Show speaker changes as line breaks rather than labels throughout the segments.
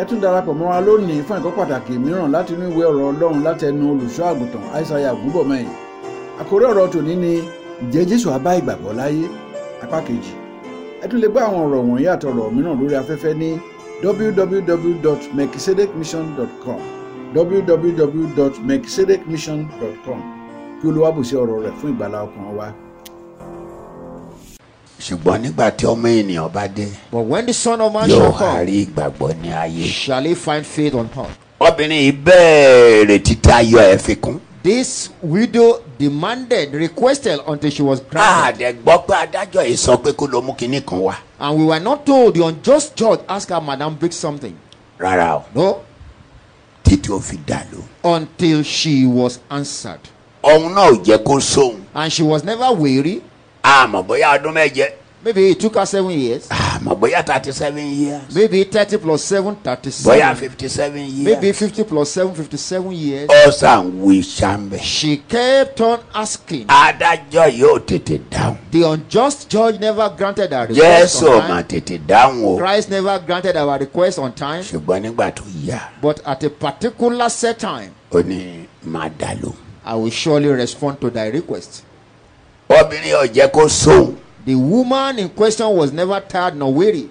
ẹ tún darapọ̀ mọ́ra lónìí fún ẹ̀kọ́ pàtàkì mìíràn láti inú ìwé ọ̀rọ̀ ọlọ́run látẹnu olùṣọ́ àgùntàn aishaiya ògúnbọ̀mọyìn àkórí ọ̀rọ̀ tòní ni ǹjẹ́ jésù á bá ìgbàgbọ́ láyé apá kejì ẹ tún lè gbọ́ àwọn ọ̀rọ̀ wọ̀nyí àtọ̀rọ̀ mìíràn lórí afẹ́fẹ́ ní www.mekisedekmission.com www.mekisedekmission.com kí olúwa bùsí ọ̀rọ̀ rẹ̀ fún ìgbàlá ọkàn wa.
ṣùgbọ́n nígbà tí ọmọ ènìyàn bá dé
But when the Son of Man
yóò
shall
wá
come,
rí ìgbàgbọ́ ní ayé.
shall he find faith on earth?
obìnrin yìí bẹ̀rẹ̀ títa ayọ̀ ẹ̀ fi kún.
This widow demanded, requested until she was granted.
káàdẹ̀ gbọ́ pé adájọ́ yìí sọ pé kó ló mú kinní kan wá.
And we were not told the unjust judge asked her, Madam, bring something.
rárá o
No,
títí ó fi dà ló.
until she was answered.
òun náà ò jẹ́ kó sóhun.
And she was never weary.
àmọ́ bóyá ọdún mẹ́jẹ.
Maybe it took her seven years.
àmọ́ bóyá thirty seven years.
Maybe 30 plus 7,
bóyá
37.
fifty seven years.
Maybe 50 plus 7, 57 years.
ọ̀sán wí sàmbẹ̀.
She kept on asking.
adájọ́ yóò tètè dáhùn.
The unjust judge never granted our request.
jésù
on
mà
time.
tètè dáhùn o.
Christ never granted our request on time.
ṣùgbọ́n nígbà tó yá
But at a particular set time,
ó ní máa dà ló.
I will surely respond to thy request.
obìnrin ò jẹ́ kó sóhun.
The woman in question was never tired nor weary.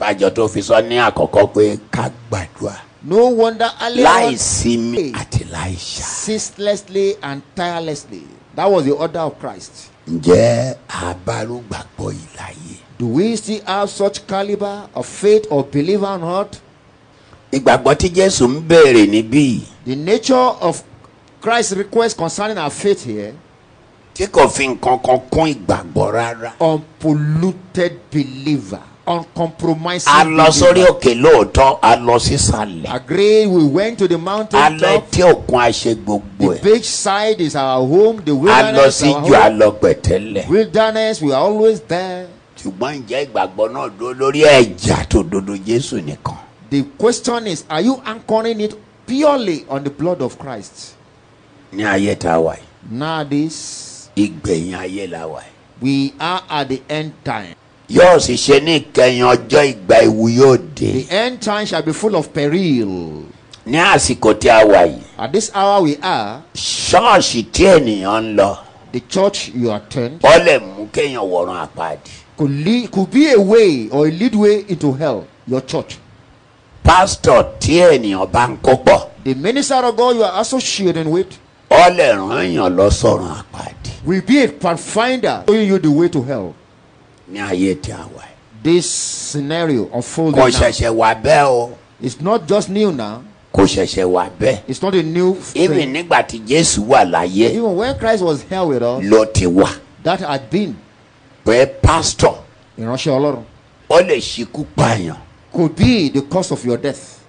àbájọ tó fi sọ ní àkọ́kọ́ pé ká gbàdúrà
No wonder earlier
láì
on,
sinmi àti láì ṣá.
ceaselessly and tirelessly. That was the order of Christ.
ǹjẹ́ abárúgbàgbọ́ ìlàyé.
Do we still have such caliber of faith or believer or not?
ìgbàgbọ́ tí jésù ń béèrè níbí yìí,
The nature of Christ's request concerning our faith here,
tí kò fi nǹkan kan kún ìgbàgbọ́ rárá.
unpolluted believer, uncompromising.
a lọ sórí
believer.
òkè lóòótọ́ a lọ sísàlẹ̀.
Agree, we went to the
a
mountain
lọ
top.
etí òkun a ṣe gbogbo
The
ẹ̀.
beach side is our home. The
a lọ
wilderness,
sí
is our
ju a
home.
lọ pẹ̀tẹ́lẹ̀.
wilderness, we are always there.
ṣùgbọ́n ǹjẹ́ ìgbàgbọ́ náà dúró lórí ẹ̀jà tó dodo jésù nìkan.
The question is, are you anchoring it purely on the blood of Christ?
ní ayé tá a wà yìí
Nowadays,
ìgbẹ̀yìn ayé la wà yìí.
we are at the end time.
yóò sì ṣe ní ìkẹyìn ọjọ́ ìgbà ìwú yóò dé
The end time shall be full of peril.
ní àsìkò tí a wà yìí
At this hour we are,
ṣọ́ọ̀ṣì tí ènìyàn ń lọ
the church you attend
ó lè mú kéèyàn wọ̀ràn àpáàdì
could, lead, could be a way or a lead way into hell, your church.
pásítọ̀ tí ènìyàn bá ń kó pọ̀
The minister of God you are associating with
ó lè rán èèyàn lọ sọ̀ràn àpáàdì
will be a pathfinder showing you the way to hell.
ní ayé tí a wà yìí
This scenario unfolding
kò
now.
ṣẹ̀ṣẹ̀ wà bẹ́ẹ̀ o
It's not just new now.
kò ṣẹ̀ṣẹ̀ wà bẹ́ẹ̀
It's not a new
ibi
thing.
nígbà tí jésù wà láyé
Even when Christ was here with us,
ló ti wà
that had been
pé pásítọ̀
ìránṣẹ́ Ọlọ́run
ó lè ṣekú pààyàn
could be the cause of your death.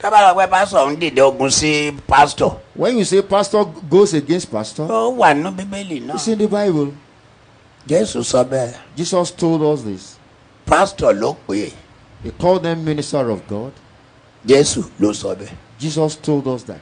tábàlà pé pásítọ̀ ń dìde ogun sí pásítọ̀
When you say pastor goes against pastor,
ó wà nínú bíbélì náà.
it's in the Bible.
jésù sọ bẹ́ẹ̀.
Jesus told us this.
pásítọ̀ ló pè é
He called them minister of God.
jésù ló sọ bẹ́ẹ̀.
Jesus told us that.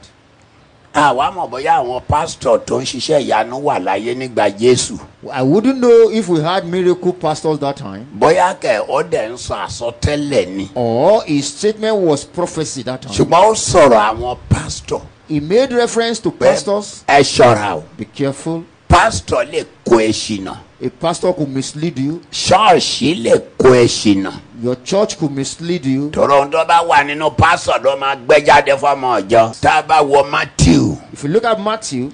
àwa mọ̀ bóyá àwọn pásítọ̀ tó ń ṣiṣẹ́ ìyanu wà láyé nígbà jésù.
I wouldn't know if we had miracle pastors that time
bóyá kẹ̀ ó dẹ̀ ń sọ àsọtẹ́lẹ̀ ni.
or his statement was prophecy that time.
ṣùgbọ́n ó sọ̀rọ̀ àwọn pásítọ̀.
He made reference to
pé
pastors.
ẹ ṣọ́ra o
Be careful.
pásítọ̀ lè kó ẹ ṣìnà
A pastor could mislead you.
ṣọ́ọ̀ṣì lè kó ẹ ṣìnà.
Your church could mislead you.
tọrọ ohun tó bá wà nínú pásítọ̀ ló máa gbé jáde fọmọ ọjọ́. tá a bá wọ matthew
If you look at Matthew,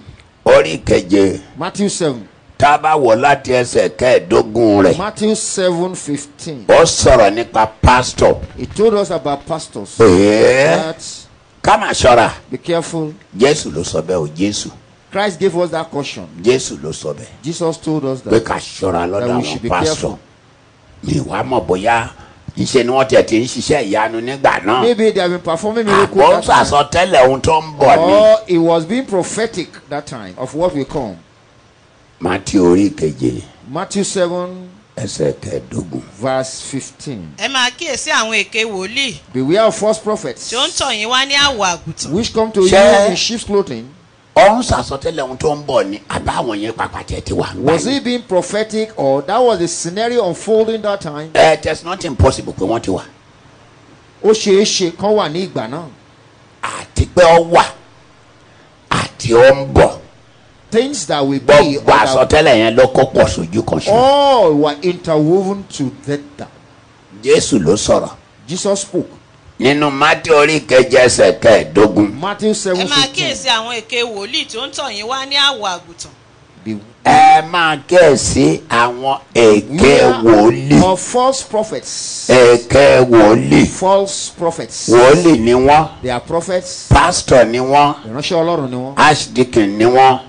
orí keje.
Matthew 7,
tá a bá wọ láti ẹsẹ̀ kẹ́ẹ̀ẹ́dógún rẹ̀
Matthew 7 15,
ó sọ̀rọ̀ nípa pásítọ̀
he told us about pastors.
Oh, ẹ̀ẹ́
That
ká máa ṣọ́ra
be careful.
jésù ló sọ bẹ́ẹ̀ o jésù
Christ gave us that caution.
jésù ló sọ bẹ́ẹ̀
Jesus told us
pé
that.
ká ṣọ́ra lọ́dọ̀
That we
àwọn
should be
pásítọ̀
careful.
mi wàá mọ̀ bóyá ńṣe ni wọ́n tẹ̀ ti ń ṣiṣẹ́ ìyanu nígbà náà
Maybe they have been performing
àbọ̀ ń
miracles that time,
sàsọtẹ́lẹ̀ ohun tó ń bọ̀ ni.
or it was being prophetic that time of what will come.
matthew orí keje
Matthew 7
ẹsẹ̀ kẹ́ẹ̀ẹ́dógún
verse 15.
ẹ máa kíyèsí àwọn èké wòlíì
Beware of false
tí ó ń
prophets
tọ̀ yín wá ní àwọ̀ àgùntàn
which come to
Ṣé-
you in sheep's clothing.
ó ń sàsọtẹ́lẹ̀ ohun tó ń bọ̀ ni àbá àwọn yẹn pàpà tẹ̀ ti wà ń gbà
Was he being prophetic or that was the scenario unfolding that time?
ẹ there's nothing possible pé wọ́n ti wà
ó ṣeé ṣe kán wà ní ìgbà náà
àti pé ọ wà àti ọ ń bọ̀
things that will be
gbogbo
or that-
àsọtẹ́lẹ̀ yẹn ló kó pọ̀ sójú kan ṣe
all were interwoven together
jésù ló sọ̀rọ̀
jesus spoke
nínú mátí orí kẹjẹ ẹsẹ̀ kẹẹ̀ẹ́dógún
matthew
ẹ
seven
máa
fifteen
kíyèsí àwọn èké wòlíì tó ń tọ̀ yín wá ní àwọ̀ àgùntàn
the
ẹ máa kíyèsí àwọn èké wòlíì
or false prophets
èké wòlíì
false prophets
wòlíì ni wọ́n
they are prophets
pásítọ̀ ni wọ́n
ìránṣẹ́ ọlọ́run ni wọ́n
archdeacon ni wọ́n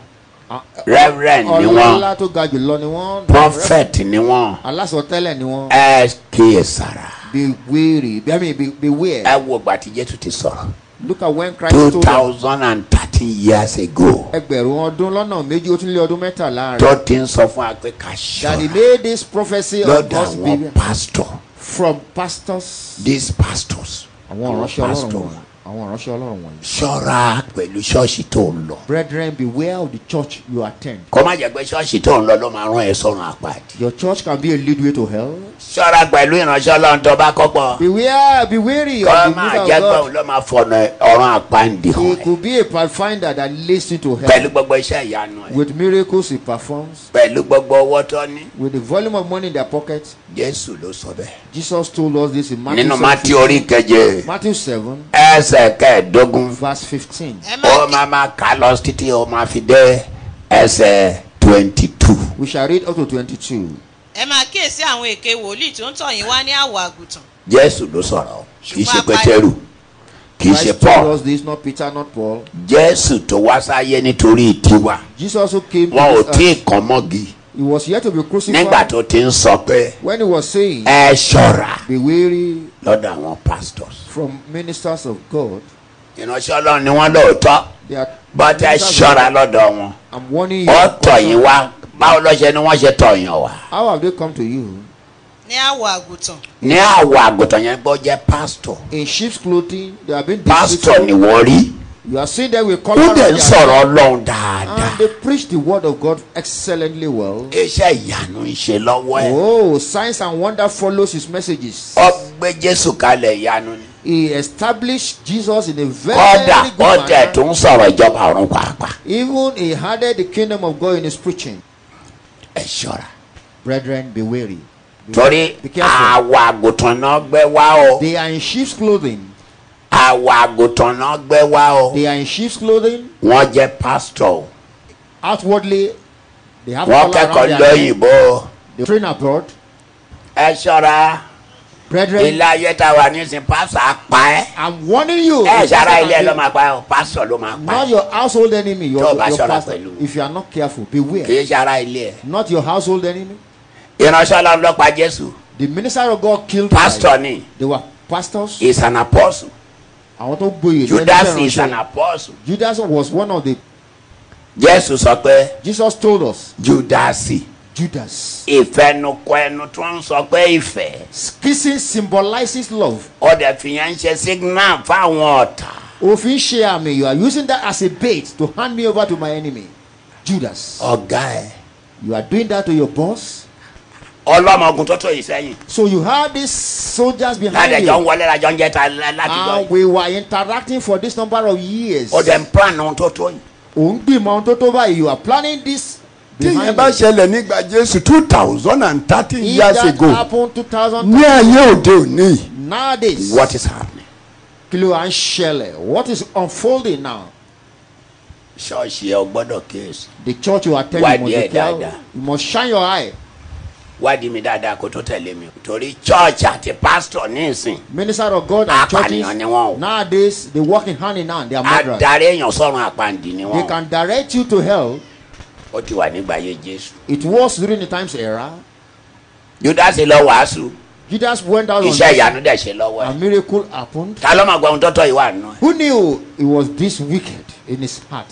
Ah,
reverend ni wọ́n
ọlọ́lá tó ga jù lọ ni wọ́n
prophet ni wọ́n
alásọtẹ́lẹ̀ ni wọ́n
ẹ kíyèsára
beware i mean be- beware
ẹ wo ìgbà tí jésù ti sọ̀rọ̀
look at when
two
christ told them
thousand and thirteen years ago.
ẹgbẹ̀rún ọdún lọ́nà méjì ó tún lé ọdún mẹ́tàlá rẹ̀
tó ti ń sọ fún wa pé ká
that he
ṣọ́ra
made this prophecy of
lọ́dọ̀
God's
àwọn
baby
pastor
from pastors
these pastors
àwọn ìránṣẹ́ ọlọ́run
pastor
wọ̀nyí àwọn ìránṣẹ́ ọlọ́run wọ̀nyí.
ṣọ́ra pẹ̀lú ṣọ́ọ̀ṣì tó ń lọ
brethren beware of the church you attend
kó má jẹ́ pé ṣọ́ọ̀ṣì tó ń lọ ló máa rán ẹ sọ́run àpáàdì
your church can be a leadway to hell
ṣọ́ra pẹ̀lú ìránṣẹ́ ọlọ́run tó bá kọ́pọ̀
beware be wary
kó
of the
máa
leader
jẹ́ pé
of God
òun ló máa fọ̀nà ọ̀run àpáàdì hàn
he
ẹ́
could be a pathfinder that leads you to hell
pẹ̀lú gbogbo iṣẹ́ ìyanu ẹ̀
with miracles he performs
pẹ̀lú gbogbo owó tó ní
with the volume of money in their pocket
jésù ló sọ bẹ́ẹ̀.
Jesus told us this in Matthew
nínú
7,
mátí orí keje
Matthew 7
ẹsẹ̀ kẹẹ̀ẹ́dógún
verse 15
ẹ máa
ó máa máa kà lọ títí ó máa fi dé ẹsẹ̀ twenty two.
we shall read up to 22
kí- ẹ máa kíyèsí àwọn èké wòlíì tó ń tọ̀ yín wá ní àwọ̀ àgùntàn
jésù ló sọ̀rọ̀ o. kì í ṣe
Ṣùgbọ́n apá-
pétérù kì í ṣe
Christ told
paul
us this not Peter not Paul
jésù tó wá sáyé nítorí tiwa
Jesus who came to
wọn ò
this
tí
earth,
ì kàn mọ́gi
he was yet to be
nígbà
crucified
tó ti ń sọ pé
when he was saying
ẹ ṣọ́ra
be wary
lọ́dọ̀ àwọn pastors
from ministers of God
ìránṣẹ́ ọlọ́run ni wọ́n lóòótọ́
they are
bọ́tà ẹ
ministers of
ṣọ́ra
God.
lọ́dọ̀ wọn
I'm warning you
wọ́n tọ̀ yín wá báwo lọ́ṣẹ́ ni wọ́n ṣe tọ̀ yín wá
how have they come to you
ní àwọ̀ àgùntàn
ní àwọ̀ àgùntàn yẹn gbọ́ jẹ́ pastor
in sheep's clothing they have been
pastor ni
deceitful
wọ́n rí
you are seeing them with
ó
color
dẹ̀ ń sọ̀rọ̀ ọlọ́run
and
dáadáa
they preach the word of God excellently well
iṣẹ́ ìyanu ń ṣe lọ́wọ́ ẹ̀.
oh signs and wonder follows his messages
ọgbẹ́ jésù kalẹ̀ ìyanu ni.
He established Jesus in a very
kọ́dà
good
ọ̀dẹ̀ tó
manner.
ń sọ̀rọ̀ ìjọba ọ̀run pàápàá.
Even he added the kingdom of God in his preaching.
ẹ ṣọ́ra.
Brethren, be wary. Be-
torí
be careful.
àwọ̀ àgùntàn náà gbẹ́ wá o.
They are in sheep's clothing.
àwọ̀ àgùntàn náà gbẹ́ wá o.
They are in sheep's clothing.
wọ́n jẹ́ pásítọ̀ o.
Outwardly, they have
wọ́n
collar
kẹ́kọ̀ọ́
around their neck.
lóyìnbó o.
They train abroad.
ẹ ṣọ́ra
Brethren,
ilé ayé tá a wà nísìn pásítọ̀ á pa ẹ́.
I'm warning you.
ẹ ṣara ilé ẹ ló máa pa ẹ́ o pásítọ̀ ló máa pa
Not
ẹ́.
your household enemy, your,
Tó o
your,
bá ṣọ́ra
pastor.
pẹ̀lú.
If you are not careful,
kì
beware.
í ṣara ilé ẹ.
Not your household enemy.
ìránṣẹ́ ọlọ́run ló pa jésù.
The minister of God killed Christ.
pásítọ̀ ni
They were pastors.
is an apostle.
Àwọn tó gboyè.
judas is an apostle.
Judas was one of the
jésù sọ pé
Jesus told us,
judasi
Judas.
ìfẹnukọ ẹnu tó ń sọ pé ìfẹ
Kissing symbolizes love.
ọdẹ fìyàn ń ṣe signal fáwọn ọ̀tá
Òfin ṣe àmì, you are using that as a bait to hand me over to my enemy. Judas.
ọgá ẹ
You are doing that to your boss.
ọlọmọgùn tó tó yìí sẹyìn
So you had these soldiers behind
ládẹjọ ń
you.
wọlé lajọ ń jẹ ta la-
Ah,
látijọ
And
yìí
we were interacting for this number of years.
ọdẹ ń plan ohun tó tó yìí.
Ò ń gbìmọ̀ ohun tó tó báyìí. You are planning this behind you.
ṣẹlẹ̀ nígbà jésù two thousand and thirteen
If that happened 2000
ní ayé òde òní
nowadays,
what is happening.
kí ló à ń ṣẹlẹ̀? What is unfolding now?
ṣọ́ọ̀ṣì ẹ gbọ́dọ̀ kíyèsí
The church you attend,
Why
you must,
there,
be careful.
Dada?
you must shine your eye.
wádìí mi dáadáa kó tó tẹ̀lé mi torí church àti pastor ní ìsìn
minister of God and churches
apànìyàn ni wọn o
nowadays they working hand in hand they are murderers
adarí èèyàn sọ̀rùn àpàǹdì ni
they
wọn o.
can direct you to hell
ó ti wà nígbà ayé jésù.
it was during the times era
judas lọ wàásù
Judas went out on
iṣẹ́
this
ìyanu dẹ̀ ṣe lọ́wọ́ ẹ̀.
and miracle happened
ta ló máa gba ohun tọ́tọ́ ìwà àná ẹ̀.
who knew he was this wicked in his heart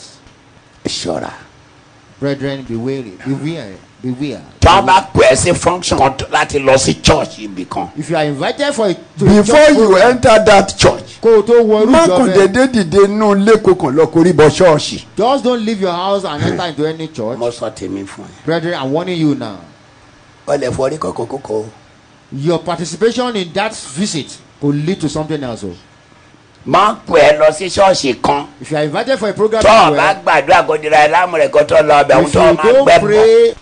ẹ ṣọ́ra.
brethren be wary beware beware
tó a bá pè é sí function kan tó- láti lọ sí church ibì kan.
if you are invited for a to a
before
church
you
program,
enter that church
kó o tó wọ irú
má
ìjọ
kàn
bẹ́ẹ̀
déédéé dìde inú ilé kankan lọ kó rí bọ ṣọ́ọ̀ṣì.
just don't leave your house and enter into
mo
any church
sọ tèmi fún ẹ.
brethren I'm warning you now
ó lè forí kọ̀kọ́ kókó.
your participation in that visit could lead to something else. o.
máa pè é lọ sí ṣọ́ọ̀ṣì kan
If you are invited for a program,
tó o bá
well,
gbàdúrà kó dira ẹ láàmú rẹ kó tó lọ ọbẹ̀ òun
if
tó o
you
máa
go
gbẹ bọ̀
pray,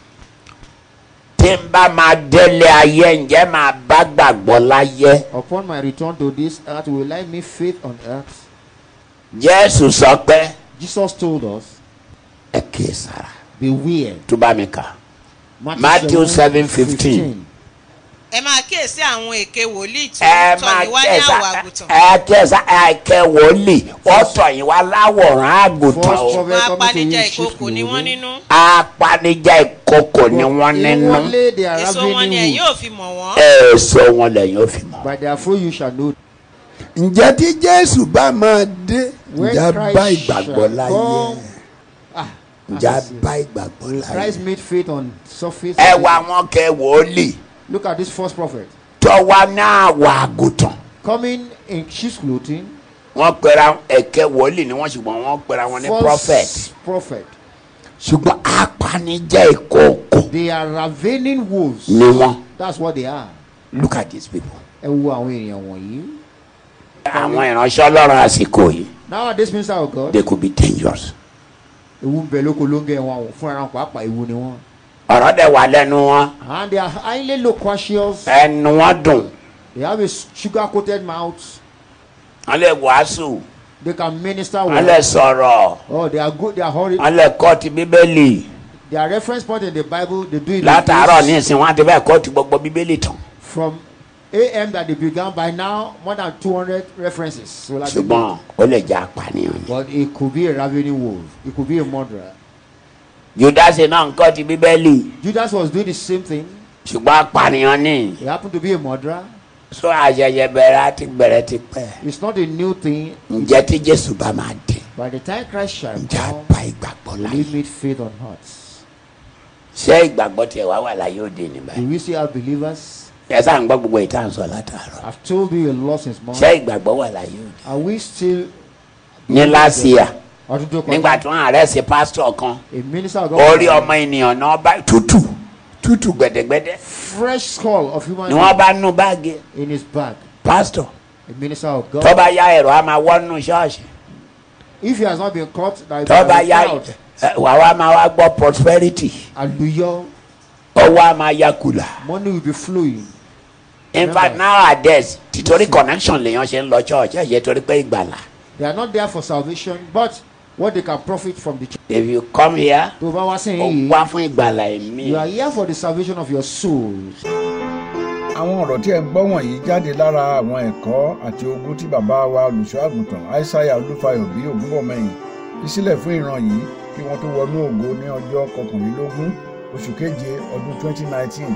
tí n bá máa délé ayé ǹjẹ́ máa bá gbàgbọ́ láyé
upon my return to this earth, will I meet faith on earth?
jésù sọ pé
Jesus told us,
ẹ kì í sára
Beware.
tó bá mi kà Matthew 7, 15.
ẹ máa kíyèsí àwọn èké wòlíì tí ó
ẹ
ń tọ̀
máa
yín wá ní
kẹsà
àwọ̀ àgùntàn
ẹ kẹsà ẹ kẹ wòlíì wọ́n tọ̀ yín wá láwòrán àgùntàn
First
o
prophet
wọn
coming
apanijẹ
to you, shift
ìkòkò ni
will
wọ́n
obey.
nínú
apanijẹ ìkòkò ni wọ́n
But
nínú
inwardly they are
èso wọn ni ẹ
ravening
yóò
wolves.
fi mọ̀ wọ́n
èso wọn lẹ́yìn ó fi mọ̀
By their fruit you shall know.
ǹjẹ́ tí jésù bá máa dé
When
ǹjẹ́
Christ
bá ìgbàgbọ́
shall
láyé
come- Ah,
ǹjẹ́
as I
bá
say,
ìgbàgbọ́ láyé.
Christ made faith on surface.
ẹ wá wọn kẹ wòlíì
Look at this first prophet
tó wá ní àwọ̀ àgùntàn
coming in sheep's clothing.
wọ́n pera ẹkẹ wòlíì ni wọ́n ṣùgbọ́n wọ́n pera wọn ní
false
prophet
prophet.
ṣùgbọ́n apanijẹ ìkòkò
They are ravening wolves.
ni wọ́n
That's what they are.
look at these people
Ẹ wo àwọn èèyàn wọ̀nyí.
àwọn ìránṣẹ́ ọlọ́run àsìkò yìí
Nowadays minister of God.
they could be dangerous
Ewu ń bẹ lóko ló ń gẹ wọn àwọn fún ẹran pàápàá ewu ni wọn.
ọ̀rọ̀ dẹ̀ wà lẹ́nu wọn
And they are highly loquacious.
ẹnu wọn dùn
They have a sugar coated mouth.
wọ́n lè wàásù
They can minister
wọ́n lè
well.
sọ̀rọ̀
Oh, they are good. They are hurried.
wọ́n lè kọ́ọ̀tì bíbélì
Their reference point in the Bible, they do it in
látàárọ̀ ní
this-
ìsìn wọn àti bẹ́ẹ̀ kọ́ọ̀tì gbogbo bíbélì tán
from AM that they began by now more than 200 references. So like
ṣùgbọ́n ó lè jẹ́ apànìyàn ni
but it could be a ravening wolf. It could be a murderer.
judas náà ń kọ́ọ̀tì bíbélì
Judas was doing the same thing.
ṣùgbọ́n apànìyàn ni
He happened to be a murderer.
so àṣẹ̀ṣẹ̀ bẹ̀rẹ̀ àti bẹ̀rẹ̀ ti pẹ́
It's not a new thing.
ǹjẹ́ tí jésù bá máa dé
By the time Christ shall
ǹjẹ́ á
come,
bá ìgbàgbọ́
will
láyé
he meet faith on hearts?
ṣé ìgbàgbọ́ tiẹ̀ wá wà láyé òde ní
Do
báyìí
we see our believers?
ẹ sáà ń gbọ́ gbogbo ìta ń sọ látàárọ̀
I've told you a lot since
ṣé
morning.
ìgbàgbọ́ wà láyé òde
Are we still
ní láṣìá
Ọdún tó kọjá,
nígbà tí wọ́n àárẹ̀ sí pásítọ̀ kan
a minister of
orí
God
ọmọ ènìyàn náà bá tútù tútù gbẹ̀dẹ̀gbẹ̀dẹ̀
fresh skull of human
ni wọ́n bá nù báàgì
being in his bag?
pásítọ̀
A minister of God.
tó bá yá ẹ̀rọ a máa wọ́nú ṣọ́ọ̀ṣì
if he has not been caught by
tó bá
by the
yá
crowd
ẹ- wà wá máa wá gbọ́ prosperity
aluyo
ọwọ́ a máa yá kùlà
money will be flowing
in fact
Remember.
nowadays títorí connection lèèyàn ṣe ń lọ church ẹ̀yẹ torí pé ìgbàlà
they are not there for salvation but what they can profit from the church.
if you come here
tó bá wá
ó
sẹ́yìn
wá
yìí
fún ìgbàlà ẹ̀mí
you are here for the salvation of your soul.
àwọn ọ̀rọ̀ tí ẹ̀ ń gbọ́ wọ̀nyí jáde lára àwọn ẹ̀kọ́ àti ogún tí bàbá wa olùṣọ́ àgùntàn aishaiya olúfayọ bí ògúnbọ̀mọyìn fi sílẹ̀ fún ìran yìí kí wọ́n tó wọnú ògo ní ọjọ́ kọkànlélógún oṣù keje ọdún 2019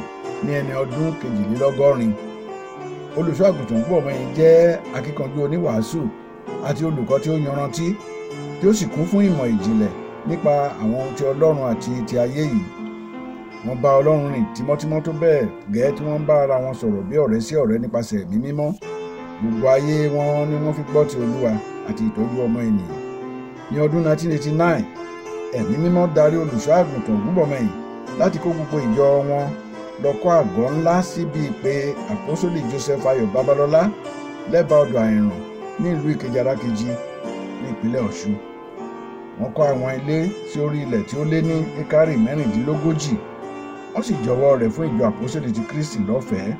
ní ẹni ọdún kejìlélọ́gọ́rin olùṣọ́ àgùntàn ògúnbọ̀mọyìn jẹ́ akíkanjú oníwàásù àti olùkọ́ tí ó yanrantí tí ó sì kún fún ìmọ̀ ìjìnlẹ̀ nípa àwọn ohun ti ọlọ́run àti ti ayé yìí wọ́n bá ọlọ́run rìn tímọ́tímọ́ tó bẹ́ẹ̀ gẹ́ẹ́ tí wọ́n bá ara wọn sọ̀rọ̀ bí ọ̀rẹ́ sí ọ̀rẹ́ nípasẹ̀ ẹ̀mí mímọ́ gbogbo ayé wọn ni wọ́n fi gbọ́ ti olúwa àti ìtọ́jú ọmọ ènìyàn ní ọdún 1989 ẹ̀mí mímọ́ darí olùṣọ́ àgùntàn gúbọ̀mọyìn láti kó gbogbo ìjọ wọn lọ kọ́ àgọ́ ńlá síbi ìpè àpọ́sólì joseph ayọ̀ babalọ́lá lẹ́bàá ọdọ̀ àìràn ní ìlú ìkejì arákejì ní ìpínlẹ̀ ọ̀ṣun wọ́n kọ́ àwọn ilé sí orí ilẹ̀ tí ó lé ní ekari mẹ́rìndínlógójì wọ́n sì jọwọ́ rẹ̀ fún ìjọ àpòsílẹ̀ ti kristi lọ́fẹ̀ẹ́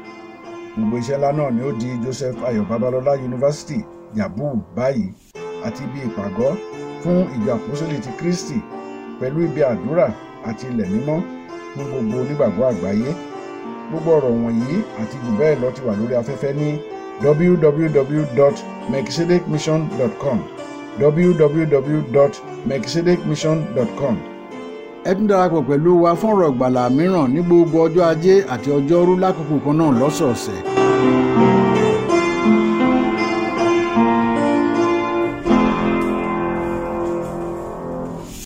gbogbo iṣẹ́ ńlá náà ni ó di joseph ayọ̀ babalọ́lá yunifásitì yabu báyìí àti ibi ìpàgọ́ fún ìjọ àpòsílẹ̀ ti kristi pẹ̀lú ibi àdúrà àti ilẹ̀ mímọ́ fún gbogbo onígbàgbọ́ àgbáyé gbogbo ọ̀rọ̀ wọ̀nyí àti jù bẹ́ẹ̀ lọ ti wà lórí afẹ́fẹ́ ní www.mexicidicmission.com www.mexicidicmission.com ẹ tún darapọ̀ pẹ̀lú wa fún ọ̀rọ̀ ìgbàlà mìíràn ní gbogbo ọjọ́ ajé àti ọjọ́rú lákòókò kan náà lọ́sọ̀ọ̀sẹ̀.